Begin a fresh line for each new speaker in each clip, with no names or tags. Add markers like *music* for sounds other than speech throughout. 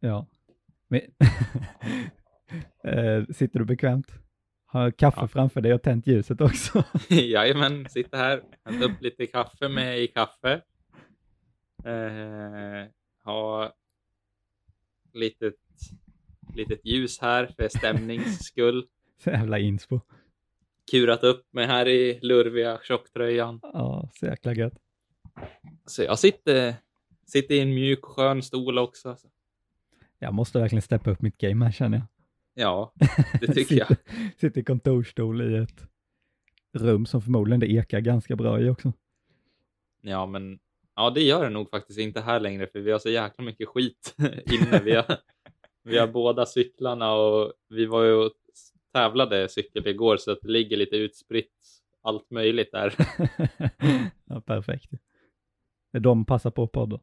Ja. Men, *laughs* Eh, sitter du bekvämt? Har kaffe
Ja.
framför dig och tänt ljuset också? *laughs*
*laughs* Jajamän, sitter här. Hällt upp lite kaffe med i kaffe. Eh, ha litet, litet ljus här för stämnings skull.
Så jävla inspo.
Kurat upp mig här i lurviga tjocktröjan.
Ja, så jäkla gött.
Så jag sitter, sitter i en mjuk och skön stol också. Så-
Jag måste verkligen steppa upp mitt game här känner jag.
Ja, det
*laughs*
tycker jag.
sitter, sitter i kontorstol i ett rum som förmodligen det ekar ganska bra i också. *laughs*
Ja, men ja, det gör det nog faktiskt inte här längre för vi har så jäkla mycket skit *laughs* inne. Vi har, vi har båda cyklarna och vi var ju och tävlade cykel igår så att det ligger lite utspritt allt möjligt där. *laughs*
ja, perfekt. De passar på podden.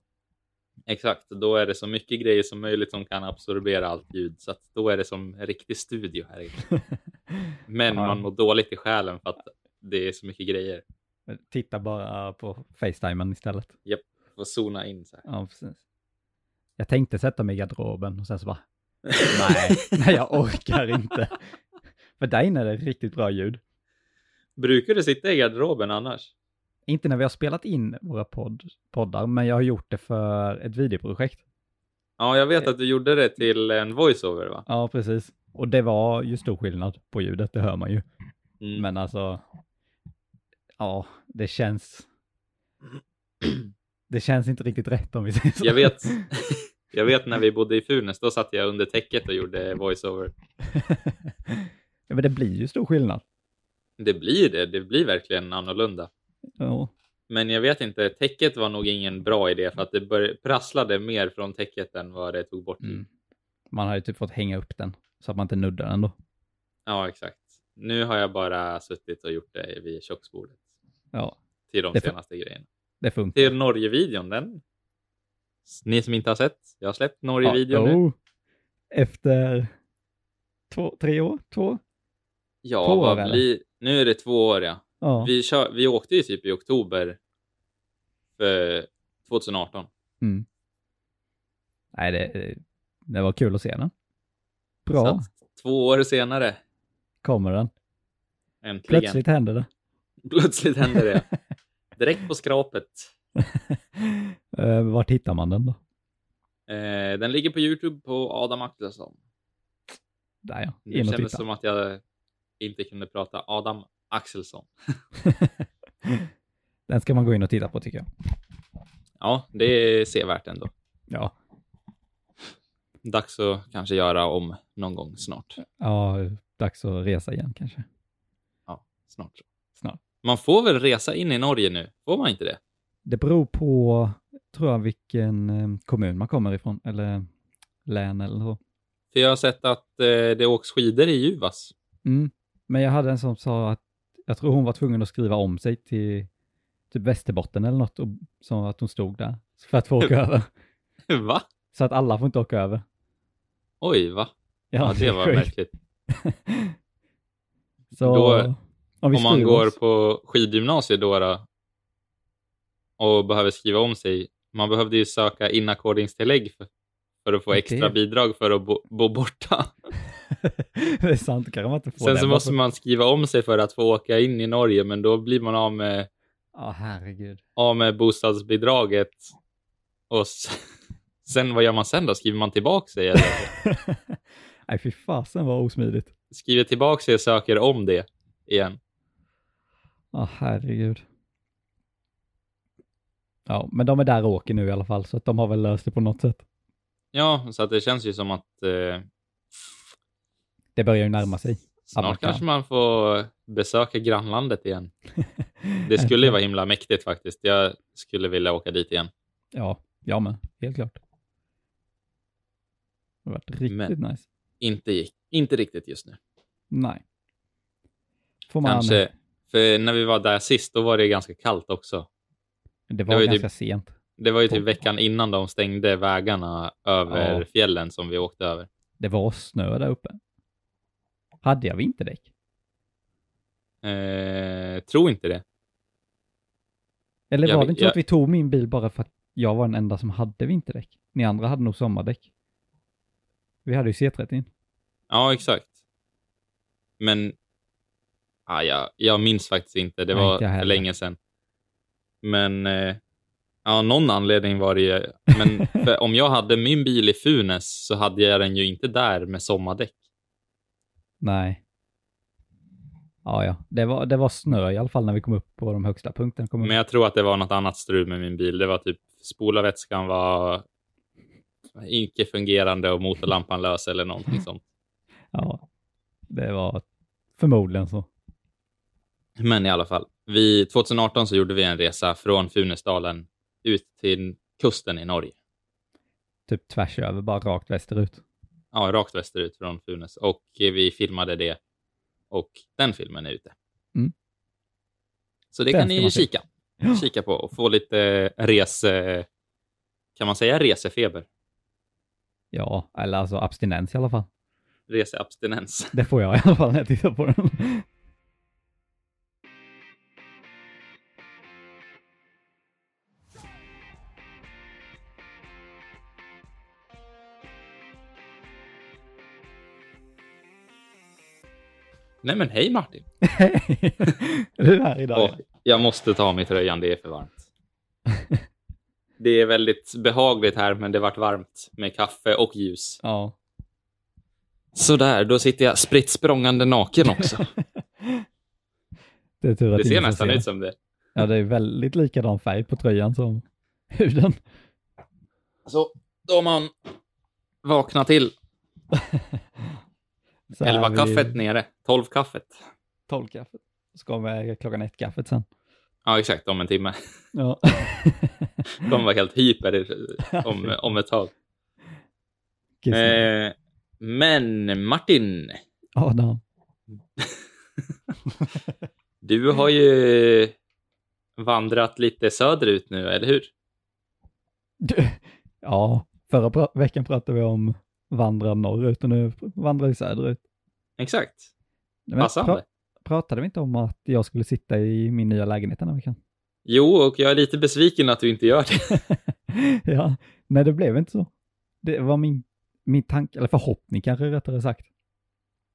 Exakt, då är det så mycket grejer som möjligt som kan absorbera allt ljud så att då är det som en riktig studio här inne. Men
Ja.
man mår dåligt i själen för att det är så mycket grejer.
Titta bara på Facetimen istället.
Får zona in så här.
Ja, precis. Jag tänkte sätta mig i garderoben och sen så *laughs* bara, nej, nej jag orkar inte. För där inne är det riktigt bra ljud.
Brukar du sitta i garderoben annars?
Inte när vi har spelat in våra podd, poddar, men jag har gjort det för ett videoprojekt.
Ja, jag vet att du gjorde det till en voiceover va?
Ja, precis. Och det var ju stor skillnad på ljudet, det hör man ju.
Mm.
Men alltså, ja, det känns... Det känns inte riktigt rätt om vi säger så.
*laughs* Jag vet, jag vet när vi bodde i Funäs, då satt jag under täcket och gjorde voiceover.
*laughs* ja, men det blir ju stor skillnad.
Det blir det, det blir verkligen annorlunda.
Ja,
Men jag vet inte, täcket var nog ingen bra idé för att det bör, prasslade mer från täcket än vad det tog bort.
mm. Man har ju typ fått hänga upp den så att man inte nuddar den då.
Ja, exakt. Nu har jag bara suttit och gjort det vid köksbordet
Ja,
till de
Det får-
senaste grejerna.
det funkar.
Till Norge-videon, den. Ni som inte har sett, jag har släppt
ja,
Norge-videon nu.
jo. Efter två, tre år? Två?
Ja,
två år,
vad
eller?
blir... Nu är det två år, ja.
Ja.
Vi, kör, vi åkte ju typ i oktober för 2018.
Nej, det, det var kul att se den.
Så
Bra,
att två år senare,
kommer den.
äntligen. Plötsligt.
Plötsligt händer det.
*laughs* Plötsligt händer det. Direkt på skrapet.
*laughs* Eh, Vart hittar man den då?
Eh, den ligger på Youtube på Adam Axelsson.
Där ja,
Det
in och
kändes
titta.
som att jag inte kunde prata Adam Axelsson.
den ska man gå in och titta på tycker jag.
Ja, det är sevärt ändå.
Ja,
Dags att kanske göra om någon gång snart.
ja dags att resa igen kanske.
snart.
Snart.
Man får väl resa in i Norge nu? Får man inte det?
Det beror på, tror jag, vilken eh, kommun man kommer ifrån, eller län eller så.
För jag har sett att eh, det åks skidor i Juvas.
Mm. Men jag hade en som sa att, jag tror hon var tvungen att skriva om sig till typ Västerbotten eller något, och sa att hon stod där för att få
*laughs*
åka över.
Va?
Så att alla får inte åka över.
Oj, va? Ja, det
är
var
sjukt.
märkligt.
Så
Då-
om vi
Om man
skriver
går
oss, *laughs*
på skidgymnasiet då, då och behöver skriva om sig. Man behövde ju söka inackordningstillägg för, för att få
Det-
extra bidrag för att bo, bo borta.
det är sant, kan man inte få
*laughs* Sen
det.
så
Man
måste
får-
man skriva om sig för att få åka in i Norge, men då blir man av med,
Ja, herregud. *laughs*
av med bostadsbidraget. Och s- *laughs* sen, vad gör man sen då? Skriver man tillbaka sig? Eller?
*laughs* Nej, fy fasen vad osmidigt.
Skriver tillbaka sig och söker om det igen.
Ja, herregud. Ja, men de är där och åker nu i alla fall, så att de har väl löst det på något sätt.
Ja, så att det känns ju som att eh,
Det börjar ju närma sig.
Snart
Abacab.
kanske man får besöka grannlandet igen.
*laughs*
Det skulle ju vara himla mäktigt faktiskt. Jag skulle vilja åka dit igen.
Ja, jag med. Helt klart. Det har varit riktigt nice.
Inte, gick- inte riktigt just nu.
Nej. Får man...
Kanske, för när vi var där sist, då var det ganska kallt också.
Det
det
var
var ju
ganska sent.
Det var ju typ veckan innan de stängde vägarna över
Ja.
fjällen som vi åkte över.
Det var snö där uppe. Hade jag vinterdäck?
Eh, tror inte det.
Eller
Jag
var
vet-
det inte så
jag-
att vi tog min bil bara för att jag var den enda som hade vinterdäck? Ni andra hade nog sommardäck. Vi hade ju C30.
Ja, exakt. Men ah, jag, jag minns faktiskt inte. Det
Nej,
var
inte jag
för
heller.
länge sedan. Men eh, ja, någon anledning var det ju.
*laughs*
Men för om jag hade min bil i Funäs så hade jag den ju inte där med sommardäck.
Nej. Ja, ja. Det var, det var snö i alla fall när vi kom upp på de högsta punkterna. Kom upp.
Men jag tror att det var något annat strul med min bil. Det var typ spolarvätskan var inte fungerande och motorlampan lös eller någonting sånt.
Ja, det var förmodligen så.
Men i alla fall, vi, 2018 så gjorde vi en resa från Funäsdalen ut till kusten i Norge.
Typ tvärs över, bara rakt västerut.
Ja, rakt västerut från Funäs. Och eh, vi filmade det. Och den filmen är ute.
Mm.
Så det
Den
kan
ska
ni ju
man se.
kika. kika på och få lite eh, rese... Kan man säga resefeber?
Ja, eller alltså abstinens i alla fall.
Reseabstinens. *laughs*
Det får jag i alla fall när jag tittar på den. *laughs*
Nej men hej Martin.
är du här idag?
Åh, jag måste ta av mig tröjan, det är
*laughs*
för varmt. det är väldigt behagligt här, men det vart varmt med kaffe och ljus.
Ja.
Sådär, då sitter jag spritt språngande
*laughs*
naken också.
Det, är tur att
Det ser
ingen
nästan
ser
ut som det.
Ja, det är väldigt likadan färg på tröjan som huden.
Så då har man vaknat till.
Så här
Elva
vid
kaffet nere, 12 kaffet.
Tolv kaffet. Ska med klockan ett kaffet sen.
Ja, exakt, om en timme. *laughs*
Ja.
De var helt hyper i- om,
*laughs*
om ett tag.
Kiss me.
Eh, men Martin,
Adam.
du har ju vandrat lite söderut nu, eller hur?
Du- Ja, förra pra- veckan pratade vi om vandra norrut och nu vandrar vi söderut.
Exakt,
Men
passande.
pra- pratade vi inte om att jag skulle sitta i min nya lägenhet den här veckan? *laughs*
Jo, och jag är lite besviken att du inte gör det. *laughs*
ja, nej det blev inte så. Det var min, min tanke, eller förhoppning kanske rättare sagt.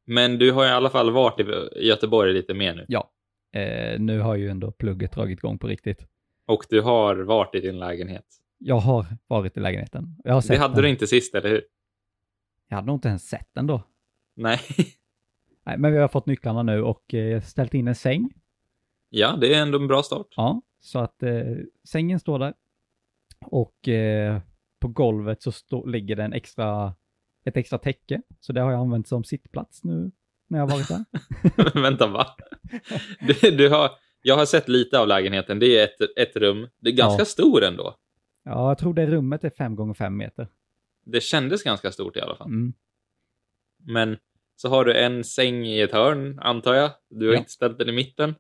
Men du har i alla fall varit i Göteborg lite mer nu.
Eh, nu har ju ändå plugget dragit igång på riktigt.
Och du har varit i din lägenhet.
Jag har varit i lägenheten. Jag har sett
Det hade
den.
du inte sist, eller hur?
Jag hade nog inte ens sett den då.
Nej.
Nej, men vi har fått nycklarna nu och eh, ställt in en säng.
Ja, det är ändå en bra start.
Ja, så att eh, sängen står där. Och eh, på golvet så stå, ligger det en extra, ett extra täcke. Så det har jag använt som sittplats nu när jag har varit
*laughs*
där.
Vänta, va? Du, du har, jag har sett lite av lägenheten. Det är ett, ett rum. Det är ganska
Ja.
stor ändå.
Ja, jag tror det rummet är fem gånger fem meter.
Det kändes ganska stort i alla fall.
Mm.
Men så har du en säng i ett hörn, antar jag. Du har
Ja.
inte ställt den i mitten.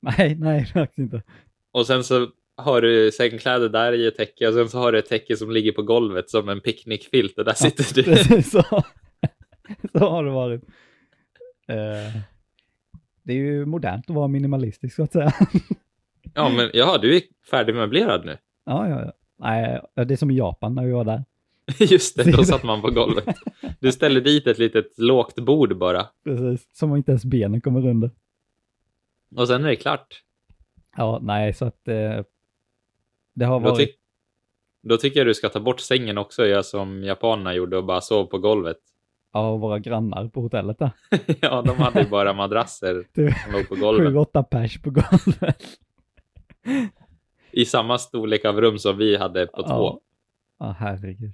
Nej, *laughs* nej, faktiskt inte.
Och sen så har du sängkläder där i ett täcke och sen så har du ett täcke som ligger på golvet som en picknickfilt och där
Ja,
sitter du.
Precis så. *laughs* så har det varit. Eh, det är ju modernt att vara minimalistisk så att säga. *laughs*
Ja, men ja, du är färdigmöblerad nu. *laughs*
Ja, ja, ja. Nej, det är som i Japan när vi var där.
Just det, då satt man på golvet. Du ställer dit ett litet lågt bord bara
Precis. Som om inte ens benen kommer under.
och sen är det klart.
Ja, nej, så att eh, det har
Då,
varit...
ty- då tycker jag du ska ta bort sängen också och göra som japanerna gjorde och bara sov på golvet. *laughs*
Ja, våra grannar på hotellet där.
Ja, de hade ju bara madrasser
*laughs* Typ
som låg på
sju,
golvet.
åtta pers på golvet.
I samma storlek av rum som vi hade på två.
Ja. ja, herregud.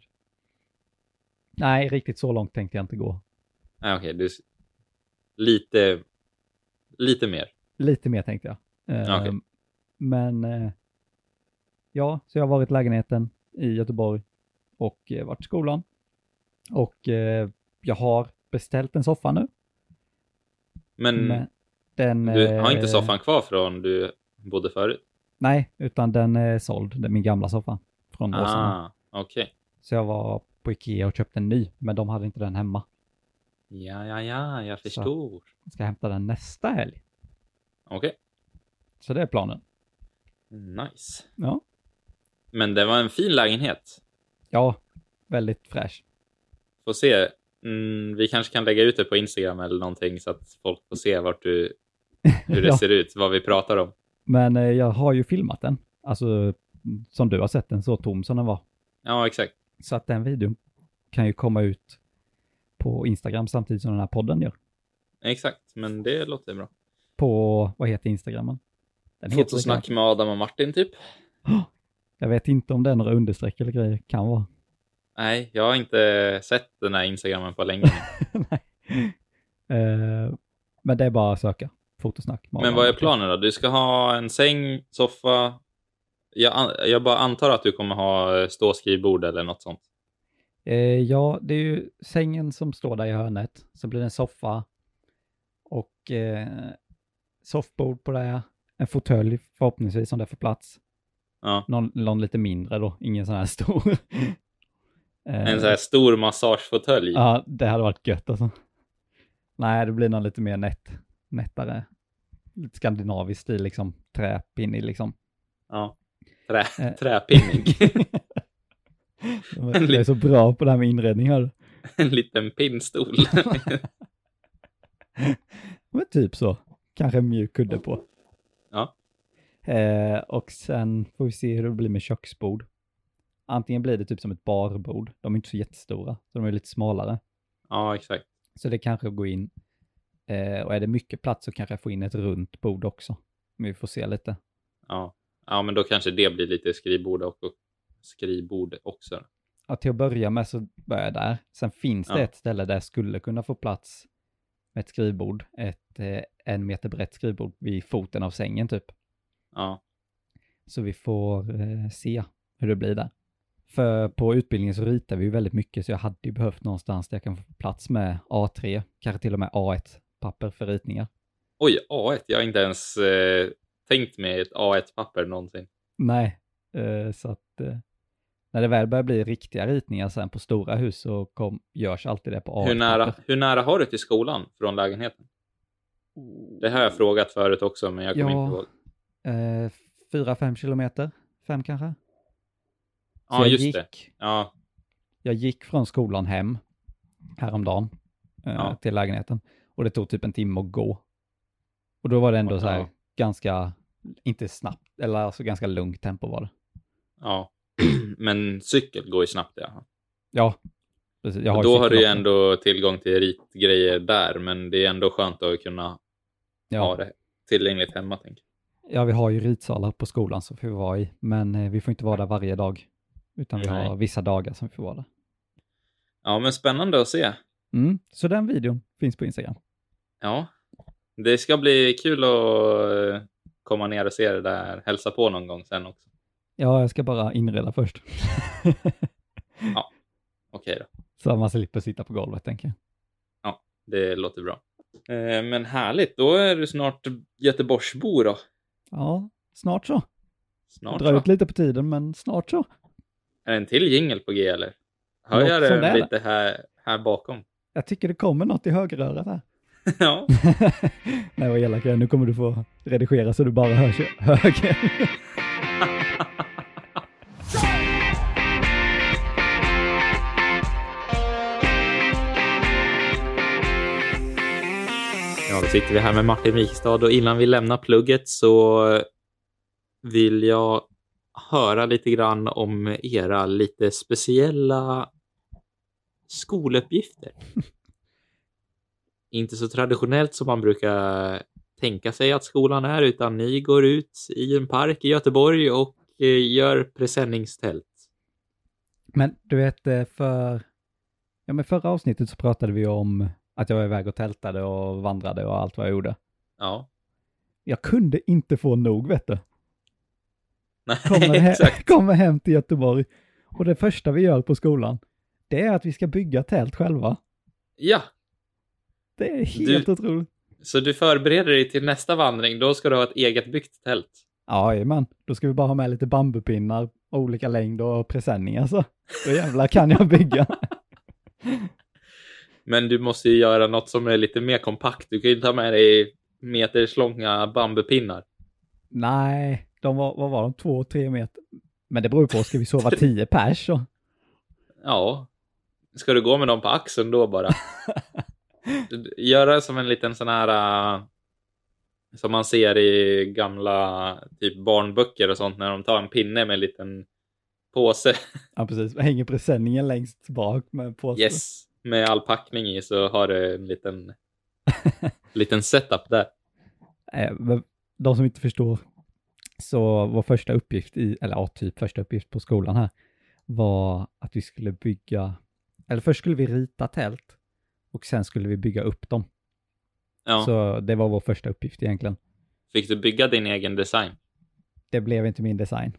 Nej, riktigt så långt tänkte jag inte gå.
Nej, okej, du... Lite... Lite mer.
Lite mer tänkte jag. Eh,
Okej.
Men eh, ja, så jag har varit i lägenheten i Göteborg och eh, varit i skolan. Och eh, jag har beställt en soffa nu.
Men
Men den,
du har inte
eh,
soffan kvar från du bodde förut?
Nej, utan den är såld. Det är min gamla soffa från år sedan.
Ah, okej.
Så jag var på Ikea och köpte en ny, men de hade inte den hemma.
Ja, ja, ja, jag förstår.
Jag ska hämta den nästa helg.
Okej,
Så det är planen.
nice.
Ja,
Men det var en fin lägenhet.
ja väldigt fräsch.
Får se Mm, vi kanske kan lägga ut det på Instagram eller någonting så att folk får se vart du, hur
*laughs*
det
Ja.
ser ut, vad vi pratar om.
Men eh, jag har ju filmat den, alltså som du har sett den, så tom som den var.
Ja, exakt.
Så att den videon kan ju komma ut på Instagram samtidigt som den här podden gör.
Exakt, men det låter bra.
På, vad heter Instagrammen? Den heter
Fotosnack med Adam och Martin typ.
Jag vet inte om det är några understreck eller grejer, kan vara. *laughs*
Nej, jag har inte sett den här Instagrammen
*laughs*
på länge.
Eh, men det är bara att söka. Fotosnack. med
Men
Adam.
vad är planen då? Du ska ha en säng, soffa. Jag, an- jag bara antar att du kommer ha eh, ståskrivbord eller något sånt.
Eh, ja, det är ju sängen som står där i hörnet. Så blir det en soffa och eh, soffbord på det. En fåtölj förhoppningsvis om det får plats.
Ja. Mm.
Någon, någon lite mindre då, ingen sån här stor. *laughs* Eh,
En sån här stor massagefåtölj.
Ja, det hade varit gött alltså. Nej, det blir någon lite mer nätt, nättare. Lite skandinavisk stil liksom. Träpinnig
*laughs*
liksom.
Ja. Trä,
Eh.
träpinnig.
Jag är så bra på det här med inredning här.
*laughs* en liten pinnstol. *laughs*
Men typ så. Kanske en mjuk kudde på.
Ja.
Eh, och sen får vi se hur det blir med köksbord. Antingen blir det typ som ett barbord. De är inte så jättestora, så de är lite smalare.
ja, exakt.
Så det kanske går in. Eh, och är det mycket plats så kanske jag får in ett runt bord också. Men vi får se lite.
Ja. ja, men då kanske det blir lite skrivbord och, och skrivbord också.
Ja, till att börja med så börjar jag där. Sen finns det
Ja.
ett ställe där jag skulle kunna få plats med ett skrivbord. Ett eh, en meter brett skrivbord vid foten av sängen typ.
Ja,
Så vi får eh, se hur det blir där. För på utbildningen så ritar vi ju väldigt mycket så jag hade ju behövt någonstans där jag kan få plats med A3, kanske till och med A1-papper för ritningar.
Oj, A1. Jag har inte ens eh, tänkt mig ett A1-papper någonsin.
Nej, eh, så att eh, när det väl börjar bli riktiga ritningar sen på stora hus så kom, görs alltid det på A1.
Hur nära, hur nära har du till skolan från lägenheten? Det har jag frågat förut också, men jag kommer
Ja.
inte ihåg.
Eh, fyra, fem kilometer, fem kanske. Så
Ja,
jag
just
gick,
det. Ja,
Jag gick från skolan hem häromdagen eh,
Ja.
till lägenheten och det tog typ en timme att gå. Och då var det ändå
Ja.
så här ganska, inte snabbt, eller alltså ganska lugnt tempo var det.
ja. *clears throat* Men cykel går ju snabbt, ja.
Ja, precis. Jag har
då har
cykel
du ju
också.
ändå tillgång till ritgrejer där, men det är ändå skönt att kunna ha
ja,
det tillgängligt hemma, tänker jag.
ja, vi har ju ritsalar på skolan som vi får vara i, men eh, vi får inte vara där varje dag, utan vi
Nej.
har vissa dagar som vi får vara där.
Ja, men spännande att se.
Mm. Så den videon finns på Instagram.
Ja, det ska bli kul att eh, komma ner och se det där, hälsa på någon gång sen också.
Ja, jag ska bara inreda först. *laughs*
Okej då,
så man slipper sitta på golvet, tänker jag.
det låter bra. Eh, Men härligt, då är du snart Göteborgsbo då.
Ja, snart så.
Snart
Drar
va?
ut lite på tiden, men snart så.
Är det en till jingel på G eller? Hör
Något
jag
sånt där.
den lite här, här bakom? *laughs*
Jag tycker det kommer något i högerörat här. *laughs*
ja,
Nej vad elak jag är. nu kommer du få redigera så du bara hörs i höger. *laughs*
Ja, då sitter vi här med Martin Wikstad och innan vi lämnar plugget så vill jag höra lite grann om era lite speciella *laughs* skoluppgifter. Inte så traditionellt som man brukar tänka sig att skolan är, utan ni går ut i en park i Göteborg och eh, gör presenningstält.
Men du vet, eh, för ja, men förra avsnittet så pratade vi om att jag var iväg och tältade och vandrade och allt vad jag gjorde.
Ja, *laughs*
Jag kunde inte få nog vet du. Kommer,
nej,
he- *laughs*
exakt.
kommer hem till Göteborg och det första vi gör på skolan det är att vi ska bygga tält själva.
Ja,
Det är helt
Du-
otroligt.
så du förbereder dig till nästa vandring. Då ska du ha ett eget byggt tält.
Ja, men då ska vi bara ha med lite bambupinnar, olika längd och presenning alltså. Då jävlar kan jag bygga.
Men du måste ju göra något som är lite mer kompakt. Du kan ju inte ha med dig meterslånga bambupinnar.
*laughs* Nej, de var, vad var de? Två, *laughs* tre meter? Men det beror ju på, ska vi sova tio pers så?
Ja, Ska du gå med dem på axeln
*laughs*
då bara? Göra som en liten sån här... äh, Som man ser i gamla typ barnböcker och sånt när de tar en pinne med en liten påse.
Ja, precis. Hänger presenningen längst bak med påsen.
Yes! Med all packning i så har du en liten,
*laughs*
liten setup där.
Eh, men De som inte förstår, så vår första uppgift i, eller ja, typ första uppgift på skolan här, var att vi skulle bygga, eller först skulle vi rita tält och sen skulle vi bygga upp dem.
Ja.
Så det var vår första uppgift egentligen.
Fick du bygga din egen design?
Det blev inte min design.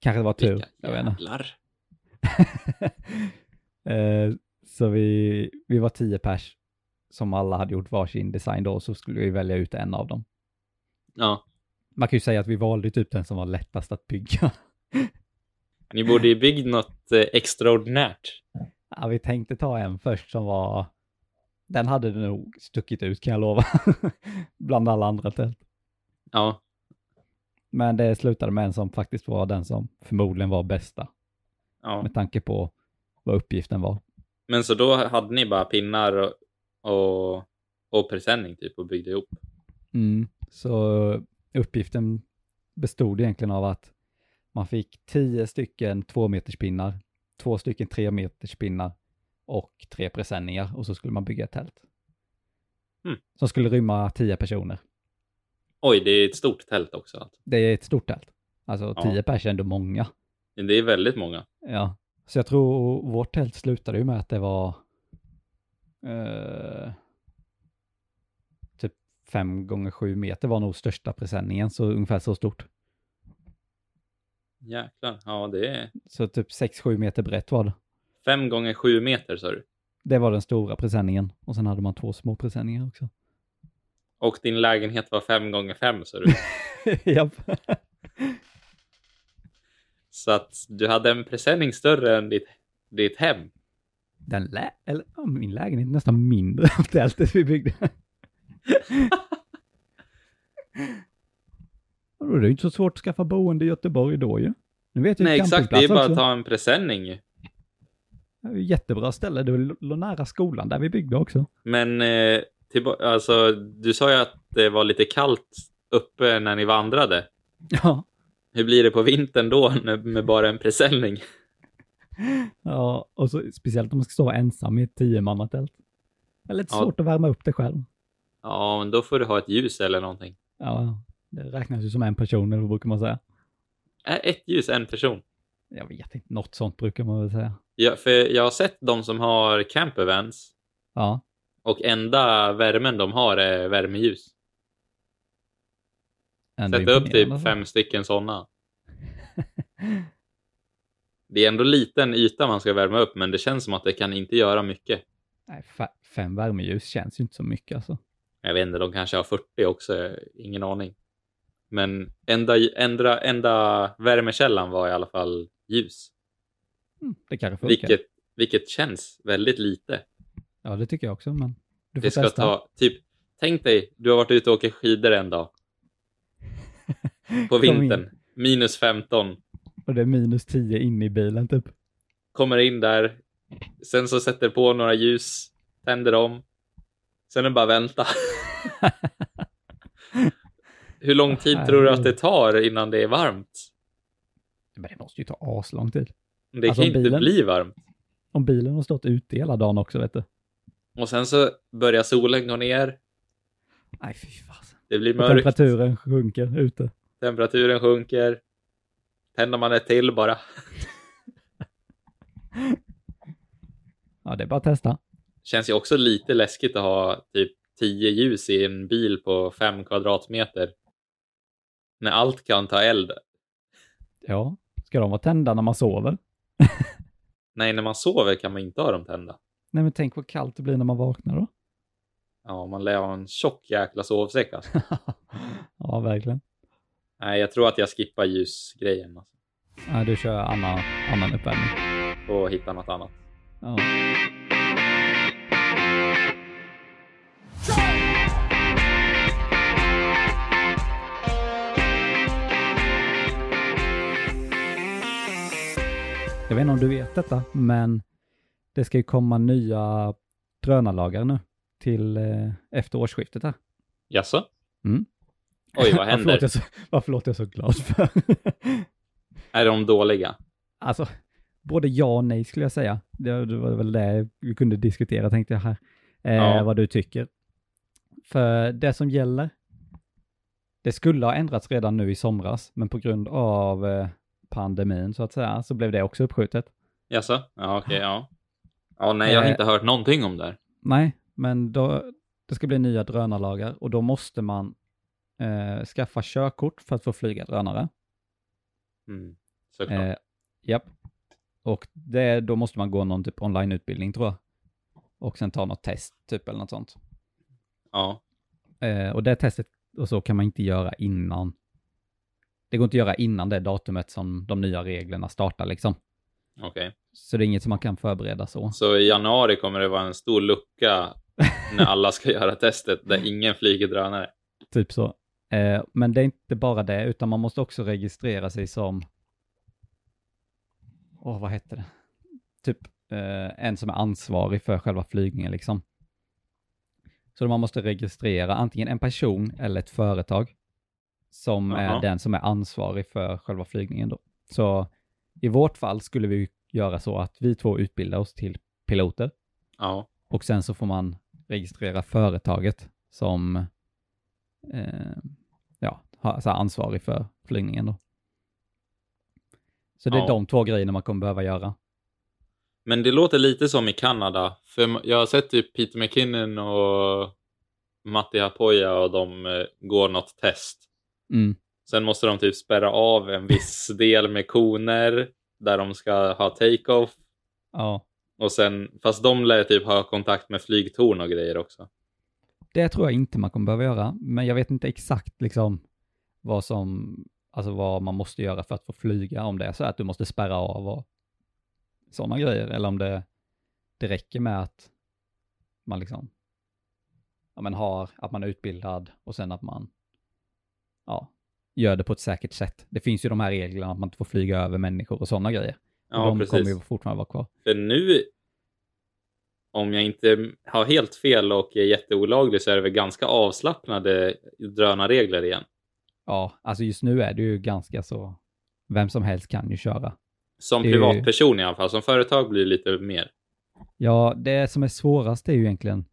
Kanske det var tur, jag vet inte.
jävlar.
*laughs* Eh, så vi, vi var tio pers som alla hade gjort varsin design då, så skulle vi välja ut en av dem.
Ja.
Man kan ju säga att vi valde typ den som var lättast att bygga. *laughs*
Ni borde ju byggt något eh, extraordinärt.
Ja, vi tänkte ta en först som var... Den hade nog stuckit ut kan jag lova. *laughs* Bland alla andra tält.
Ja.
Men det slutade med en som faktiskt var den som förmodligen var bästa.
ja.
Med tanke på vad uppgiften var.
Men så då hade ni bara pinnar och, och, och presenning typ och byggde ihop?
Så uppgiften bestod egentligen av att man fick tio stycken tvåmeterspinnar, två stycken tremeterspinnar och tre presenningar och så skulle man bygga ett tält.
Mm.
Som skulle rymma tio personer.
Oj, det är ett stort tält också. Alltså.
Det är ett stort tält. Alltså
Ja.
tio pers är ändå många.
Det är väldigt många.
Ja. Så jag tror vårt tält slutade ju med att det var eh, typ fem gånger sju meter var nog största presenningen, så ungefär så stort.
Jäklar. Ja, det är
Så typ sex sju meter brett var det.
fem gånger sju meter sa du.
Det var den stora presenningen och sen hade man två små presenningar också.
Och din lägenhet var fem gånger fem sa du.
*laughs* Japp.
Så att du hade en presenning större än ditt, ditt hem.
Den lä- eller ja, min lägenhet är nästan mindre än tältet vi *laughs* byggde. Då är det ju inte så svårt att skaffa boende i Göteborg då ju. Nu vet jag
Nej,
ju
exakt. Det är bara
också.
att ta en presenning ju.
Det är ju Jättebra ställe, det lå- låg nära skolan där vi byggde också.
Men eh, tillba- alltså, du sa ju att det var lite kallt uppe när ni vandrade.
Ja,
Hur blir det på vintern då när- med bara en presenning?
ja och så, speciellt om man ska stå ensam i ett tiomannatält. Det är lite
Ja.
svårt att värma upp det själv.
Ja, men då får du ha ett ljus eller någonting.
Ja, det räknas ju som en person, eller vad brukar man säga?
Är ett ljus en person?
Jag vet inte, något sånt brukar man väl säga.
Ja, för jag har sett de som har campervans
Ja,
och enda värmen de har är värmeljus.
ändå
Sätta upp typ
imponerande, alltså.
fem stycken *laughs* sådana. Det är ändå liten yta man ska värma upp, men det känns som att det kan inte göra mycket.
Nej, fa- fem värmeljus känns ju inte så mycket alltså.
Jag vet inte, de kanske har 40 också, eh, ingen aning. Men enda, enda, enda värmekällan var i alla fall ljus,
Mm, det kanske funkar.
vilket, vilket känns väldigt lite.
Ja, det tycker jag också, men du får
Det ska
testa.
ta, typ, tänk dig, du har varit ute och åker skidor
*laughs*
en dag på vintern, minus 15,
Och det är minus 10 inne i bilen typ.
kommer in där, sen så sätter på några ljus, tänder dem, sen är det bara
*laughs*
att vänta. Hur lång tid tror du att det tar innan det är varmt?
Men det måste ju ta aslång tid.
Det
Alltså,
kan inte
bilen-
bli varmt.
Om bilen har stått ute hela dagen också, vet du.
Och sen så börjar solen gå ner,
Nej, fy fasen.
det blir
Och
mörkt,
Temperaturen
temperaturen,
sjunker ute.
sjunker, tänder man ett till bara.
Ja, det är bara att testa.
Känns ju också lite läskigt att ha typ 10 ljus i en bil på 5 kvadratmeter. När allt kan ta eld.
Ja, ska de vara tända när man sover?
Nej, när man sover kan man inte ha dem tända.
Nej, men tänk vad kallt det blir när man vaknar då. *laughs*
Ja, man lär ha en tjock jäkla sovsäck alltså.
*laughs* ja, verkligen.
Nej, jag tror att jag skippar ljusgrejen alltså,
Nej, du kör annan, annan uppvärmning.
och hittar något annat.
Ja. Jag vet inte om du vet detta, men Det ska ju komma nya drönarlagar nu till eh, efter årsskiftet här.
Jaså?
Mm.
Oj,
*laughs*
vad
Varför låter
händer?
jag så, varför låter jag så glad för?
Är de dåliga?
alltså, både ja och nej skulle jag säga. Det, det var väl det vi kunde diskutera tänkte jag här. Eh,
Ja.
Vad du tycker. För det som gäller, det skulle ha ändrats redan nu i somras, men på grund av eh, pandemin så att säga, så blev det också uppskjutet.
Jaså? Ja, okej, ja. Ja, nej, jag har
Eh.
inte hört någonting om det här.
Nej, men då, det ska bli nya drönarlagar och då måste man eh, skaffa körkort för att få flyga drönare.
Mm, såklart.
Eh, japp. Och det, då måste man gå någon typ onlineutbildning tror jag. Och sen ta något test typ eller något sånt.
Ja,
Eh, och det testet och så kan man inte göra innan. Det går inte att göra innan det datumet som de nya reglerna startar liksom.
okej.
Så det är inget som man kan förbereda så. *laughs*
Så i januari kommer det vara en stor lucka när alla ska *laughs* göra testet
Mm.
där ingen flyger drönare.
Typ så. Eh, men det är inte bara det, utan man måste också registrera sig som... Åh, vad hette det? Typ eh, en som är ansvarig för själva flygningen liksom. Så man måste registrera antingen en person eller ett företag som
Jaha.
är den som är ansvarig för själva flygningen då. Så i vårt fall skulle vi göra så att vi två utbildar oss till piloter
Ja,
och sen så får man registrera företaget som eh, ja, har- så här ansvarig för flygningen då. Så det är
Ja.
de två grejerna man kommer behöva göra.
men det låter lite som i Kanada. För jag har sett typ Peter McKinnon och Matti Hapoya och de eh, går något test.
Mm.
Sen måste de typ spärra av
*laughs*
en viss del med koner där de ska ha take-off.
Ja,
Och sen, fast de lär typ ha kontakt med flygtorn och grejer också.
det tror jag inte man kommer behöva göra, men jag vet inte exakt liksom vad som, alltså vad man måste göra för att få flyga, om det är så att du måste spärra av och sådana grejer, eller om det, det räcker med att man liksom, ja men har, att man är utbildad och sen att man, ja, gör det på ett säkert sätt. Det finns ju de här reglerna att man inte får flyga över människor och sådana grejer. Och
Ja,
de kommer
precis.
ju fortfarande vara kvar.
För nu, om jag inte har helt fel och är jätteolaglig så är det väl ganska avslappnade drönarregler igen.
Ja, alltså just nu är det ju ganska så, vem som helst kan ju köra.
Som
Det är ju-
privatperson i alla fall, som företag blir det lite mer.
Ja, det som är svårast är ju egentligen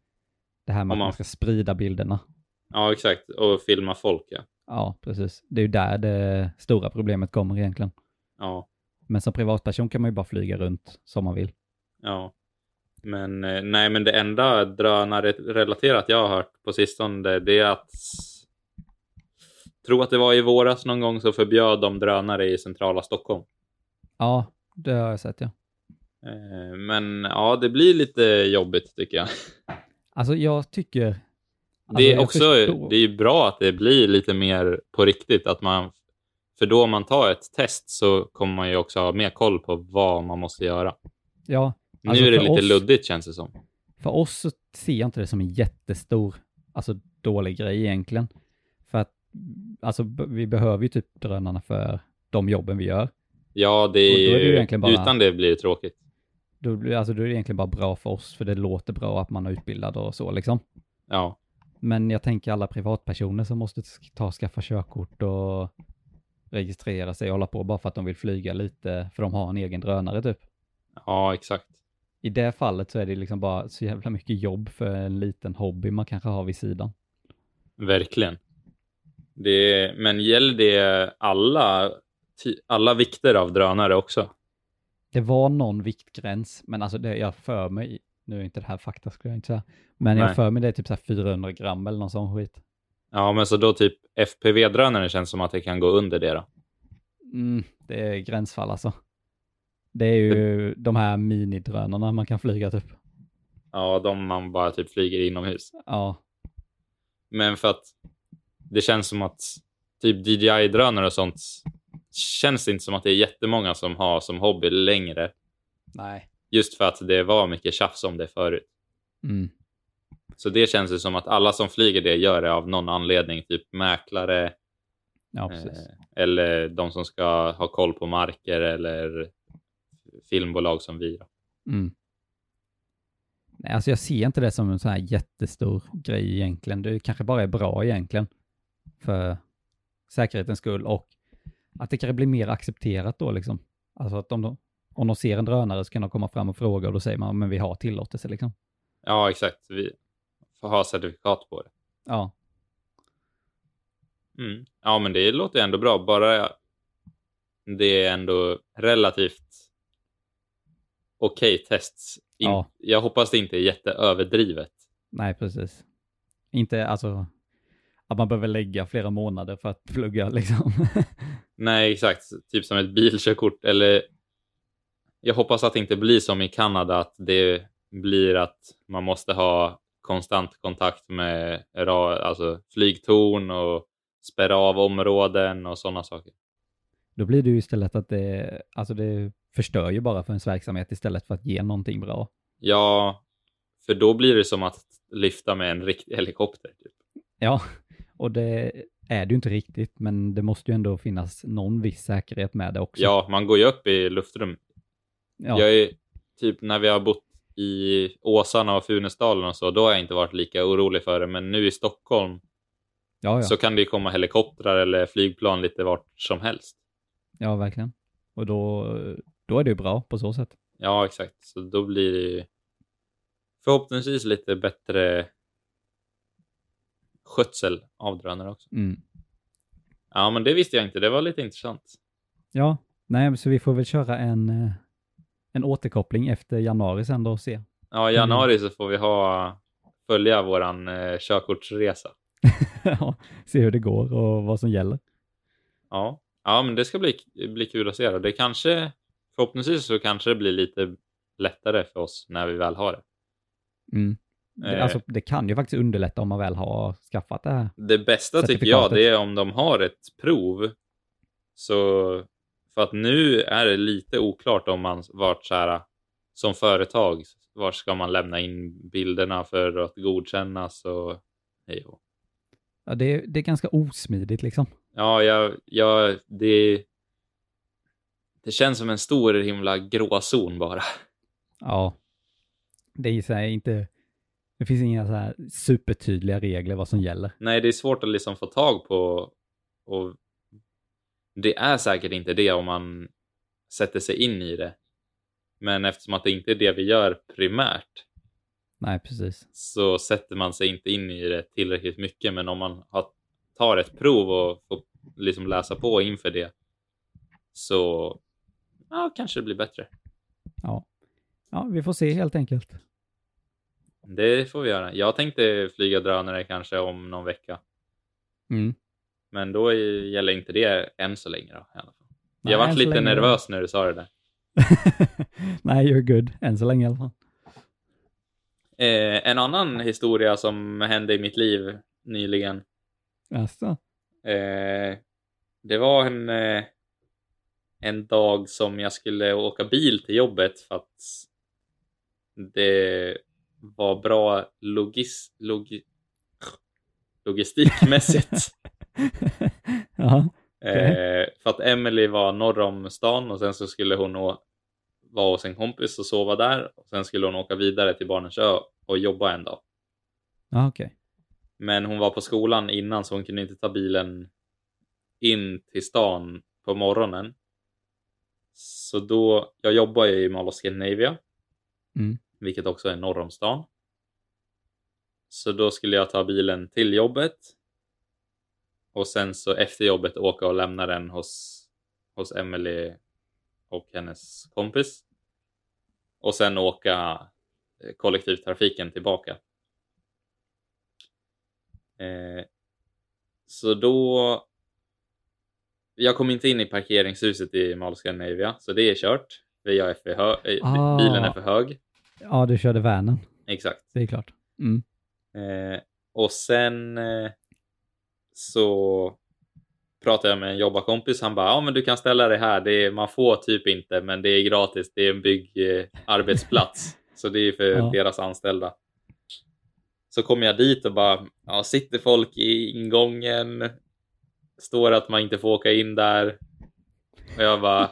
det här med
Om
att
man-
man ska sprida bilderna. Ja,
Ja, exakt. Och filma folk, ja.
Ja, precis. Det är ju där det stora problemet kommer egentligen.
Ja,
Men som privatperson kan man ju bara flyga runt som man vill.
ja. Men eh, nej, men det enda drönarrelaterat jag har hört på sistone det är att tro att det var i våras någon gång så förbjöd de drönare i centrala Stockholm.
Ja, det har jag sett ja.
Eh, Men ja, det blir lite jobbigt tycker jag.
Alltså jag tycker... Alltså,
Det är
jag
också
förstår-
det är ju bra att det blir lite mer på riktigt. Att man, för då om man tar ett test så kommer man ju också ha mer koll på vad man måste göra.
Ja, Alltså,
nu är det
för
lite
oss-
luddigt känns det som.
för oss så ser jag inte det som en jättestor, alltså dålig grej egentligen. För att, alltså b- vi behöver ju typ drönarna för de jobben vi gör.
Ja, det
Och då
är,
är det ju
ju,
egentligen bara-
utan det blir det tråkigt.
Då, blir- alltså, då är det egentligen bara bra för oss, för det låter bra att man är utbildad och så liksom.
Ja,
Men jag tänker alla privatpersoner som måste sk- ta och skaffa körkort och registrera sig och hålla på bara för att de vill flyga lite, för de har en egen drönare typ.
ja exakt.
I det fallet så är det liksom bara så jävla mycket jobb för en liten hobby man kanske har vid sidan.
Verkligen. Det, men gäller det alla, ty- alla vikter av drönare också?
Det var någon viktgräns, men alltså det jag för mig, nu är inte det här fakta skulle jag inte säga, men
Nej.
jag för mig det är typ så här 400 gram eller någon sån skit.
Ja, men så då typ FPV-drönare känns som att det kan gå under det då.
Mm, det är gränsfall alltså. Det är ju de här minidrönarna man kan flyga typ.
Ja, de man bara typ flyger inomhus.
Ja,
Men för att det känns som att typ DJI-drönare och sånt känns det inte som att det är jättemånga som har som hobby längre.
nej.
Just för att det var mycket tjafs om det förut.
Mm.
Så det känns ju som att alla som flyger det gör det av någon anledning. Typ mäklare
Ja, precis.
eh, eller de som ska ha koll på marker eller filmbolag som vi. då.
Mm. Nej, alltså jag ser inte det som en sån här jättestor grej egentligen. Det kanske bara är bra egentligen för säkerhetens skull och att det kanske blir mer accepterat då liksom. Alltså att om de, om de ser en drönare så kan de komma fram och fråga och då säger man men vi har tillåtelse liksom.
Ja, exakt. Vi får ha certifikat på det.
Ja,
Mm. Ja, men det låter ju ändå bra. Bara det är ändå relativt okej tests. In-
Ja.
Jag hoppas det inte är jätteöverdrivet.
nej precis. Inte alltså att man behöver lägga flera månader för att *laughs* plugga liksom.
Nej, exakt. Typ som ett bilkörkort. Eller... Jag hoppas att det inte blir som i Kanada, att det blir att man måste ha konstant kontakt med ra- alltså flygtorn och spärra av områden och sådana saker.
då blir det ju istället att det, alltså det förstör ju bara för ens verksamhet istället för att ge någonting bra.
Ja, för då blir det som att lyfta med en riktig helikopter. Typ.
Ja, *laughs* och det är det ju inte riktigt, men det måste ju ändå finnas någon viss säkerhet med det också.
Ja, man går ju upp i luftrum.
ja,
Jag är typ när vi har bott i Åsarna och Funäsdalen och så, då har jag inte varit lika orolig för det. Men nu i Stockholm
ja, ja.
så kan det ju komma helikoptrar eller flygplan lite vart som helst.
ja verkligen. Och då, då är det ju bra på så sätt.
Ja, exakt. Så då blir det ju förhoppningsvis lite bättre skötsel av drönare också.
Mm.
Ja, men det visste jag inte. Det var lite intressant.
Ja, nej, men så vi får väl köra en, eh, en återkoppling efter januari sen då och se. *laughs*
Ja, i januari så får vi ha, följa våran eh, körkortsresa.
Ja, se hur det går och vad som gäller.
Ja, ja men det ska bli, bli kul att se. Då. Det kanske, förhoppningsvis så kanske det blir lite lättare för oss när vi väl har det.
Mm. Det,
Eh.
alltså, det kan ju faktiskt underlätta om man väl har skaffat det här.
Det bästa tycker jag
Certifikatet.
det är om de har ett prov. Så, för att nu är det lite oklart om man vart så här som företag, var ska man lämna in bilderna för att godkännas och hej och.
Ja, det, är- det är ganska osmidigt liksom.
Ja, jag, jag, det, det känns som en stor himla gråzon bara.
Ja. Det är ju så här inte... Det finns inga så här supertydliga regler vad som gäller.
Nej, det är svårt att liksom få tag på och det är säkert inte det om man sätter sig in i det. Men eftersom att det inte är det vi gör primärt
Nej, precis.
så sätter man sig inte in i det tillräckligt mycket. Men om man har, tar ett prov och får liksom läsa på inför det så ja, kanske det blir bättre.
Ja, vi får se helt enkelt.
Det får vi göra. Jag tänkte flyga drönare kanske om någon vecka,
Mm.
men då är- gäller inte det än så länge. Då, i alla fall.
Nej,
jag
än
vart
så
lite
länge-
nervös när du sa det där.
*laughs* Nej, you're good. Än så länge i alla fall.
Eh, en annan historia som hände i mitt liv nyligen.
Jaså?
Eh, det var en, eh, en dag som jag skulle åka bil till jobbet för att det var bra logis, logi,
*laughs*
logistikmässigt.
ja.
Eh, för att Emily var norr om stan och sen så skulle hon å- vara hos en kompis och sova där. Och sen skulle hon åka vidare till Barnens ö och jobba en dag.
Ja, okej.
Men hon var på skolan innan så hon kunde inte ta bilen in till stan på morgonen. Så då, jag jobbar ju i Mall of Scandinavia,
Mm.
vilket också är norr om stan. Så då skulle jag ta bilen till jobbet och sen så efter jobbet åka och lämna den hos, hos Emily och hennes kompis. Och sen åka eh, kollektivtrafiken tillbaka. Eh, så då... Jag kom inte in i parkeringshuset i Mall of Scandinavia, så det är kört. För jag är för hö- eh,
Ah.
Bilen är för hög.
Ja, du körde vanen.
Exakt.
Det är klart. Mm.
Eh, och sen eh, så pratade jag med en jobbarkompis. Han bara, ja men du kan ställa dig här. Det är, man får typ inte, men det är gratis. Det är en byggarbetsplats. Eh, arbetsplats. så det är för
Ja.
deras anställda. Så kom jag dit och bara, ja, sitter folk i ingången? Står att man inte får åka in där? Och jag bara,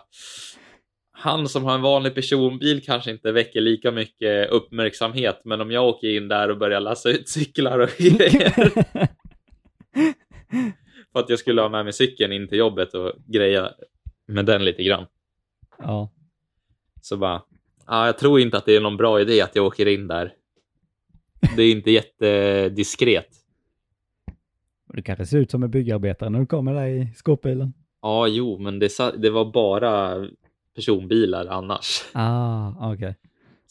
han som har en vanlig personbil kanske inte väcker lika mycket uppmärksamhet, men om jag åker in där och börjar läsa ut cyklar och
*laughs*
grejer för att jag skulle ha med mig cykeln in till jobbet och greja med den lite grann.
*laughs* ja.
Så bara, ah, jag tror inte att det är någon bra idé att jag åker in där. Det är inte *laughs* jättediskret.
Och Du kanske ser ut som en byggarbetare när du kommer där i skåpbilen.
Ja, ah, jo, men det, sa- det var bara personbilar annars.
Ah, okej.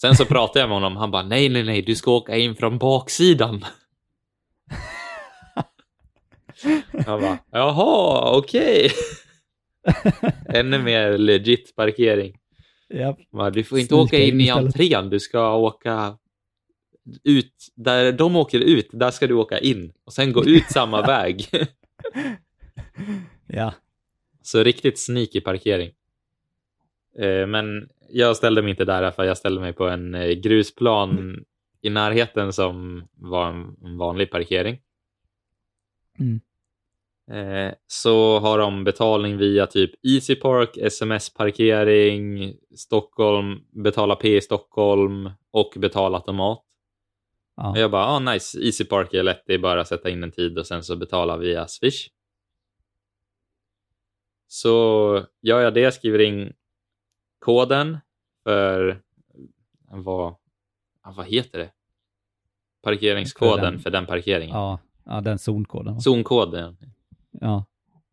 Sen så pratade jag med honom. Han bara, nej, nej, nej, du ska åka in från baksidan. Jag bara, jaha, okej. *laughs* Ännu mer legit parkering.
*laughs* Japp.
Han bara, Du får inte
Sneaka
åka in
in
i
istället.
entrén, du ska åka ut. Där de åker ut, där ska du åka in. Och sen gå ut samma väg.
Ja.
Så riktigt sneaky parkering. Eh, Men jag ställde mig inte där, för jag ställde mig på en eh, grusplan i närheten som var en- en vanlig parkering.
Mm.
Eh, Så har de betalning via typ Easy Park, sms-parkering, Stockholm, betala P i Stockholm och betalautomat.
Ja.
Och jag bara, ah, nice, Easy Park är lätt, det är bara att sätta in en tid och sen så betala via Swish. Så gör jag det, skriver in koden för vad, ah, vad heter det? Parkeringskoden
För
för
den-
den, parkeringen.
Ja. ja, den zonkoden. va?
Zonkoden.
Ja.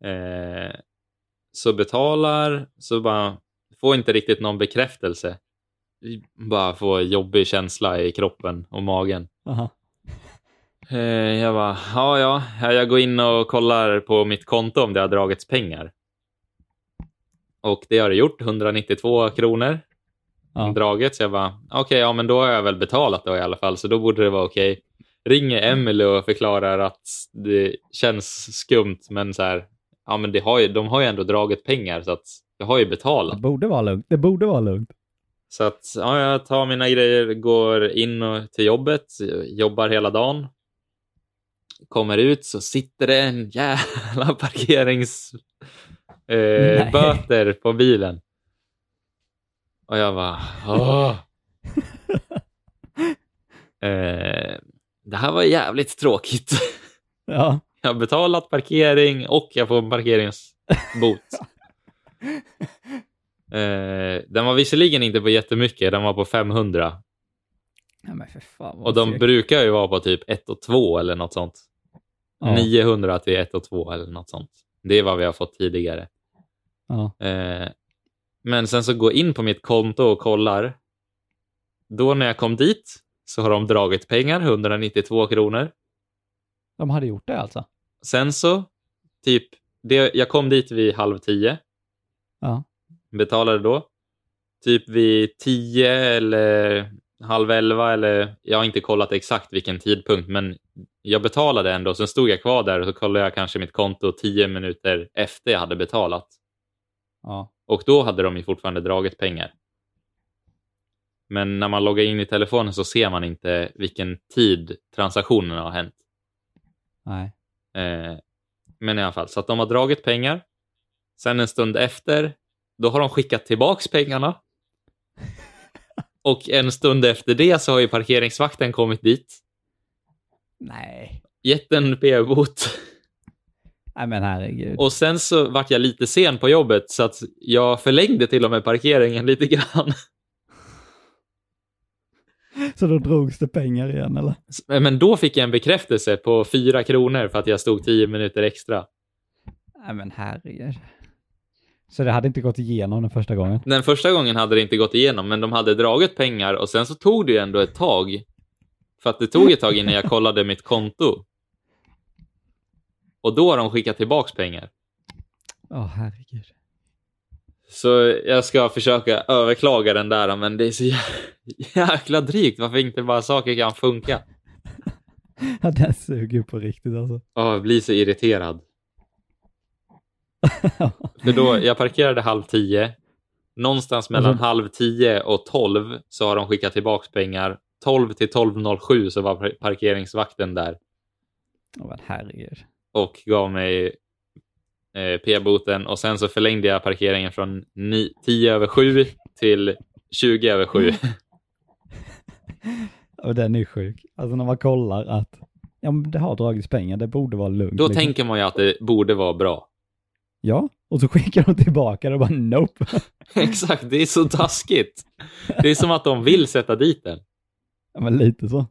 Eh, så betalar, så bara får inte riktigt någon bekräftelse. Bara får jobbig känsla i kroppen och magen.
Aha.
Eh, Jag bara, ja, ja, Ja, jag går in och kollar på mitt konto om det har dragits pengar. Och det har det gjort, 192 kronor
Ja.
draget. Så jag bara, okej, ja, men då har jag väl betalat då i alla fall, så då borde det vara okej. Ringer Emily och förklarar att det känns skumt, men så här, ja, men det har ju, de har ju ändå dragit pengar, så att jag har ju betalat.
Det borde vara lugnt. Det borde vara lugnt.
Så att ja, jag tar mina grejer, går in och, till jobbet, jobbar hela dagen. Kommer ut så sitter det en jävla *laughs* parkeringsböter
Nej.
eh, böter på bilen. Och jag bara, åh. eh, det här var jävligt tråkigt. *laughs*
Ja.
Jag har betalat parkering och jag får
*laughs*
en parkeringsbot. eh, den var visserligen inte på jättemycket, den var på 500.
ja men för fan vad
Och de
segt.
brukar ju vara på typ 1 och 2 eller något sånt.
ja.
900 till 1 och 2 eller något sånt. Det är vad vi har fått tidigare.
Ja.
Eh, men sen så går jag in på mitt konto och kollar. Då när jag kom dit så har de dragit pengar, 192 kronor.
De hade gjort det alltså?
Sen så, typ, det, jag kom dit vid halv tio.
Ja.
Betalade då. Typ vid tio eller halv elva eller, jag har inte kollat exakt vilken tidpunkt, men jag betalade ändå. Sen stod jag kvar där och så kollade jag kanske mitt konto tio minuter efter jag hade betalat.
Ja.
Och då hade de ju fortfarande dragit pengar. Men när man loggar in i telefonen så ser man inte vilken tid transaktionen har hänt.
Nej.
Eh, men i alla fall, så att de har dragit pengar. Sen en stund efter, då har de skickat tillbaks pengarna. Och en stund efter det så har ju parkeringsvakten kommit dit,
Nej.
gett en p-bot.
Nej men herregud.
Och sen så vart jag lite sen på jobbet så att jag förlängde till och med parkeringen lite grann.
Så då drogs det pengar igen eller?
Men då fick jag en bekräftelse på fyra kronor för att jag stod tio minuter extra.
Nej men herregud. Så det hade inte gått igenom den första gången?
Den första gången hade det inte gått igenom, men de hade dragit pengar och sen så tog det ju ändå ett tag. För att det tog ett tag innan jag kollade mitt konto. Och då har de skickat tillbaks pengar.
Ja herregud.
Så jag ska försöka överklaga den där, men det är så jä- jäkla drygt. Varför inte bara saker kan funka?
Ja, den suger ju på riktigt alltså. *laughs*
Åh, jag blir så irriterad. För då, jag parkerade halv tio. Någonstans mellan
Alltså-
halv tio och tolv så har de skickat tillbaka pengar. 12 till 12.07 så var par- parkeringsvakten där
Ja men herregud.
och gav mig eh, p-boten och sen så förlängde jag parkeringen från ni- 10 över 7 till 20 över 7.
Och den är sjuk. Alltså när man kollar att ja, men det har dragits pengar, det borde vara lugnt.
Då
liksom.
tänker man ju att det borde vara bra.
Ja, och så skickar de tillbaka det och bara nope.
*laughs*
*laughs*
Exakt, det är så taskigt. Det är som att de vill sätta dit den.
Ja, men lite så.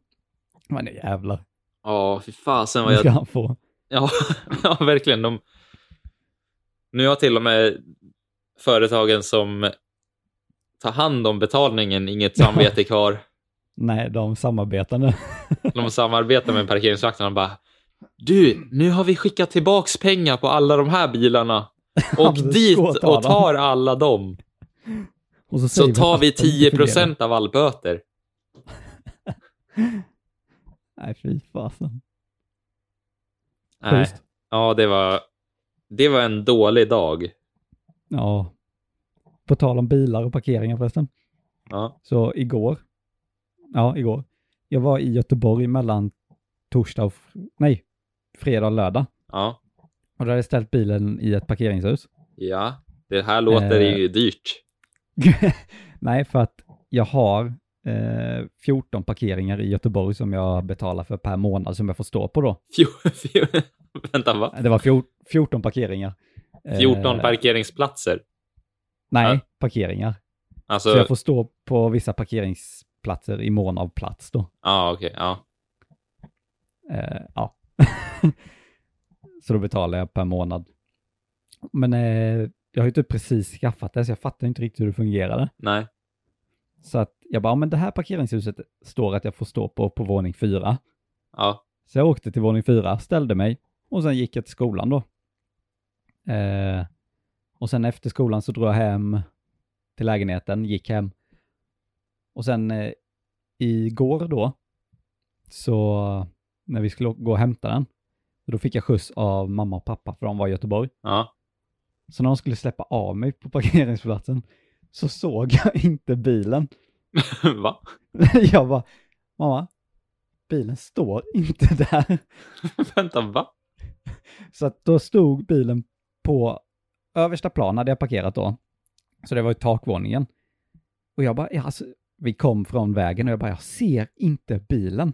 Men nu jävlar,
Ja, fy fasen vad
nu
jag
ska han få.
Ja, *laughs* ja verkligen. De... Nu har till och med företagen som tar hand om betalningen inget samvete kvar.
Nej, de samarbetar nu.
De samarbetar med parkeringsvakterna och bara
Mm.
Du, nu har vi skickat tillbaks pengar på alla de här bilarna.
Ja,
Och
precis.
dit
Gå och ta
och
dem."
tar alla dem.
Och så,
Så
säger
tar
att
vi
det inte
10
fungerar.
procent av all böter.
Nej, fy fasen.
Nej.
Schysst.
Ja, det var, det var en dålig dag.
Ja. På tal om bilar och parkeringar förresten.
Ja.
Så igår, ja igår, jag var i Göteborg mellan torsdag och, fr- nej, fredag och lördag.
Ja.
Och då hade jag ställt bilen i ett parkeringshus.
ja, det här låter
Eh.
ju dyrt.
nej, för att jag har eh, 14 parkeringar i Göteborg som jag betalar för per månad som jag får stå på då.
Fjo- fjo- *laughs* Vänta, va?
Det var fjor, 14 parkeringar.
14
Eh,
parkeringsplatser.
Nej,
Ja.
parkeringar. Så,
Alltså,
jag får stå på vissa parkeringsplatser i mån av plats då.
ja, okej. ja.
Eh, ja. *laughs* så då betalar jag per månad. Men eh, jag har ju typ precis skaffat det, så jag fattar inte riktigt hur det fungerade.
Nej.
Så att jag bara, "Ja, men det här parkeringshuset står att jag får stå på, på våning fyra.
Ja,
Så jag åkte till våning fyra, ställde mig och sen gick jag till skolan då. Eh, och sen efter skolan så drog jag hem till lägenheten, gick hem. Och sen eh, igår då, så när vi skulle å- gå och hämta den, då fick jag skjuts av mamma och pappa för de var i Göteborg.
ja. *laughs*
Så när de skulle släppa av mig på parkeringsplatsen så såg jag inte bilen. *laughs*
Va?
jag bara, mamma, bilen står inte där.
Vänta, va?
Så att då stod bilen på översta plan, hade jag parkerat då. Så det var ju takvåningen. Och jag bara, ja, alltså, vi kom från vägen och jag bara, jag ser inte bilen.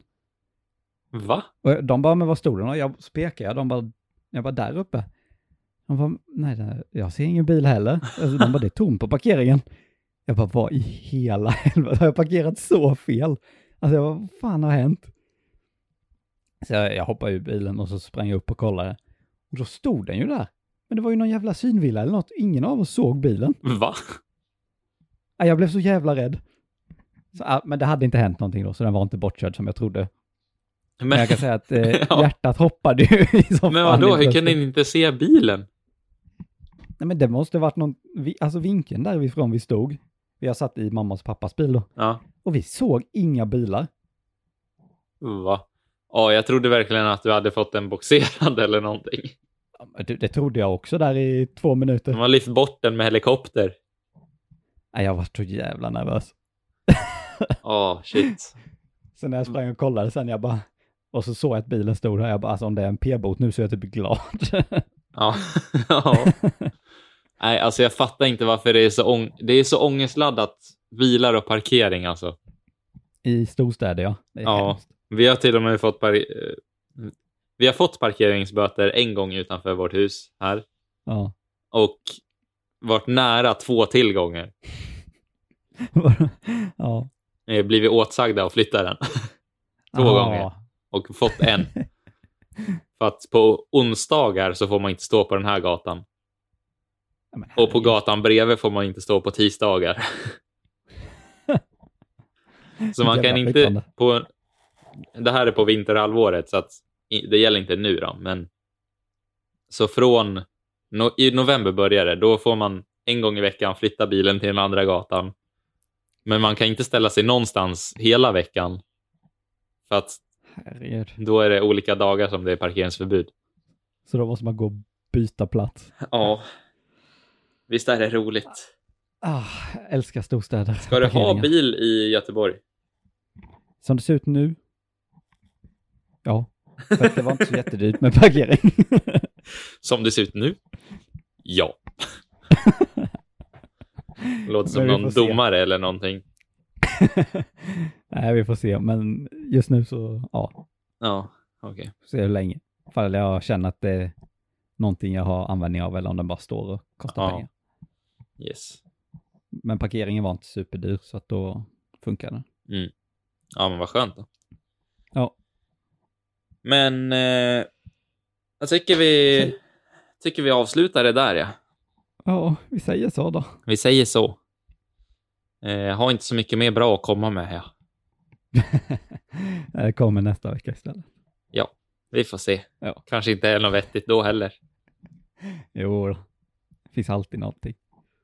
Va?
Och de bara, men var stod den? Och jag så pekade, jag, de bara, jag bara, där uppe. De bara, nej, där, jag ser ingen bil heller. Alltså, De bara, det är tomt på parkeringen. Jag bara, vad i hela *laughs* helvete, har jag parkerat så fel? Alltså, jag bara, vad fan har hänt? Så jag, jag hoppade ur bilen och så sprang jag upp och kollade. Och då stod den ju där. Men det var ju någon jävla synvilla eller något. Ingen av oss såg bilen.
Va?
Ah, Jag blev så jävla rädd. Så, ah, men det hade inte hänt någonting då, så den var inte bortkörd som jag trodde. Men
Men,
jag kan säga att eh,
*laughs* Ja.
hjärtat hoppade ju i som
men
fan
vadå,
helt
hur kunde
plötsligt.
ni inte se bilen?
Nej men det måste varit någon, vi, alltså vinkeln därifrån vi stod. Vi har satt i mammas och pappas bil då.
Ja,
Och vi såg inga bilar.
va? Ja, jag trodde verkligen att du hade fått den boxerad eller någonting.
Ja, men Det, det trodde jag också där i två minuter.
De har lyft bort den med helikopter.
Nej, jag var så jävla nervös.
Ja, shit.
Sen när jag
Mm.
sprang och kollade sen, jag bara... Och så såg jag att bilen stod där, jag bara alltså om det är en p-bot nu så är jag typ glad. *laughs*
Ja. *laughs* ja. Nej, alltså jag fattar inte varför det är så, ång- det är så ångestladdat. Bilar och parkering alltså.
I storstäder ja. Det är
Ja.
hemskt.
Vi har till och med fått, par- eh, vi har fått parkeringsböter en gång utanför vårt hus här
ja. *laughs*
och varit nära två till gånger.
ja.
Eh, Blivit åtsagda att flytta den Två
Ja.
gånger. och fått en. För att på onsdagar så får man inte stå på den här gatan
Ja, men
och på
herregud.
gatan bredvid får man inte stå på tisdagar. Så man
Jävla
kan
flyttande.
inte på. Det här är på vinterhalvåret så att i- det gäller inte nu då, men. Så från no, i november börjar det. Då får man en gång i veckan flytta bilen till den andra gatan. Men man kan inte ställa sig någonstans hela veckan. För att
Herregud.
då är det olika dagar som det är parkeringsförbud.
Så då måste man gå och byta plats.
Ja. Visst är det roligt?
Ah, älskar storstäder.
Ska du ha
Parkeringar.
bil i Göteborg?
Som det ser ut nu? Ja. *laughs* För att det var inte så jättedyrt med parkering.
*laughs* Som det ser ut nu? Ja. Låter som
Men vi får
någon
se.
domare eller någonting.
*laughs* Nej, vi får se, men just nu så, ja,
Ja, okej.
får se hur länge. Ifall jag känner att det är någonting jag har användning av eller om den bara står och kostar
Ja.
pengar.
Yes.
Men parkeringen var inte superdyr så att då funkar den.
Ja, men vad skönt då.
Ja.
Men eh, jag tycker vi,
Okej.
tycker vi avslutar det där, ja.
Ja, vi säger så *laughs* då.
Vi säger så. Eh, jag har inte så mycket mer bra att komma med. Ja.
Det kommer nästa vecka istället.
Vi får se.
Ja.
Kanske inte är något vettigt då heller.
Jo, då. det finns alltid någonting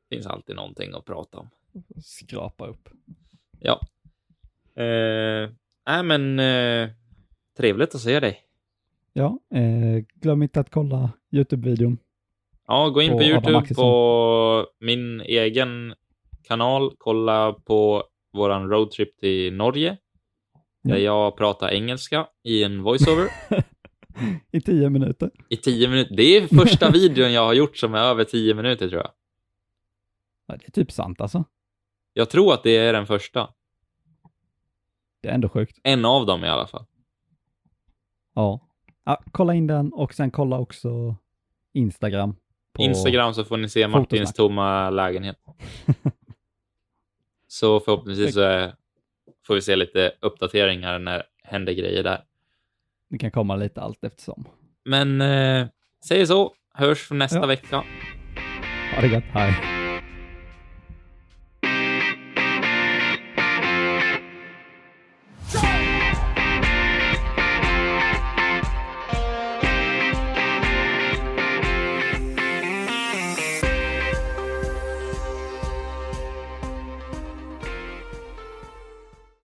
finns alltid någonting att prata om.
att skrapa upp.
Ja. Eh, nej, men eh, trevligt att se dig.
Ja, eh, glöm inte att kolla YouTube-videon.
Ja, gå in på,
På Adam
Youtube
Axelsson.
på min egen kanal. Kolla på våran roadtrip till Norge. Där
Ja.
jag pratar engelska i en voiceover
I tio minuter.
i tio minuter. Det är
*laughs*
första videon jag har gjort som är över tio minuter tror jag.
Ja, det är typ sant alltså.
Jag tror att det är den första.
Det är ändå sjukt.
En av dem i alla fall.
Ja. ja. Kolla in den och sen kolla också Instagram.
På Instagram så får ni se Martins
Fotosnack. *laughs*
tomma lägenhet. så förhoppningsvis så är, får vi se lite uppdateringar när det händer grejer där.
Det kan komma lite allt eftersom.
Men eh, säg så, hörs nästa
Ja.
vecka.
Ha det gött, hej.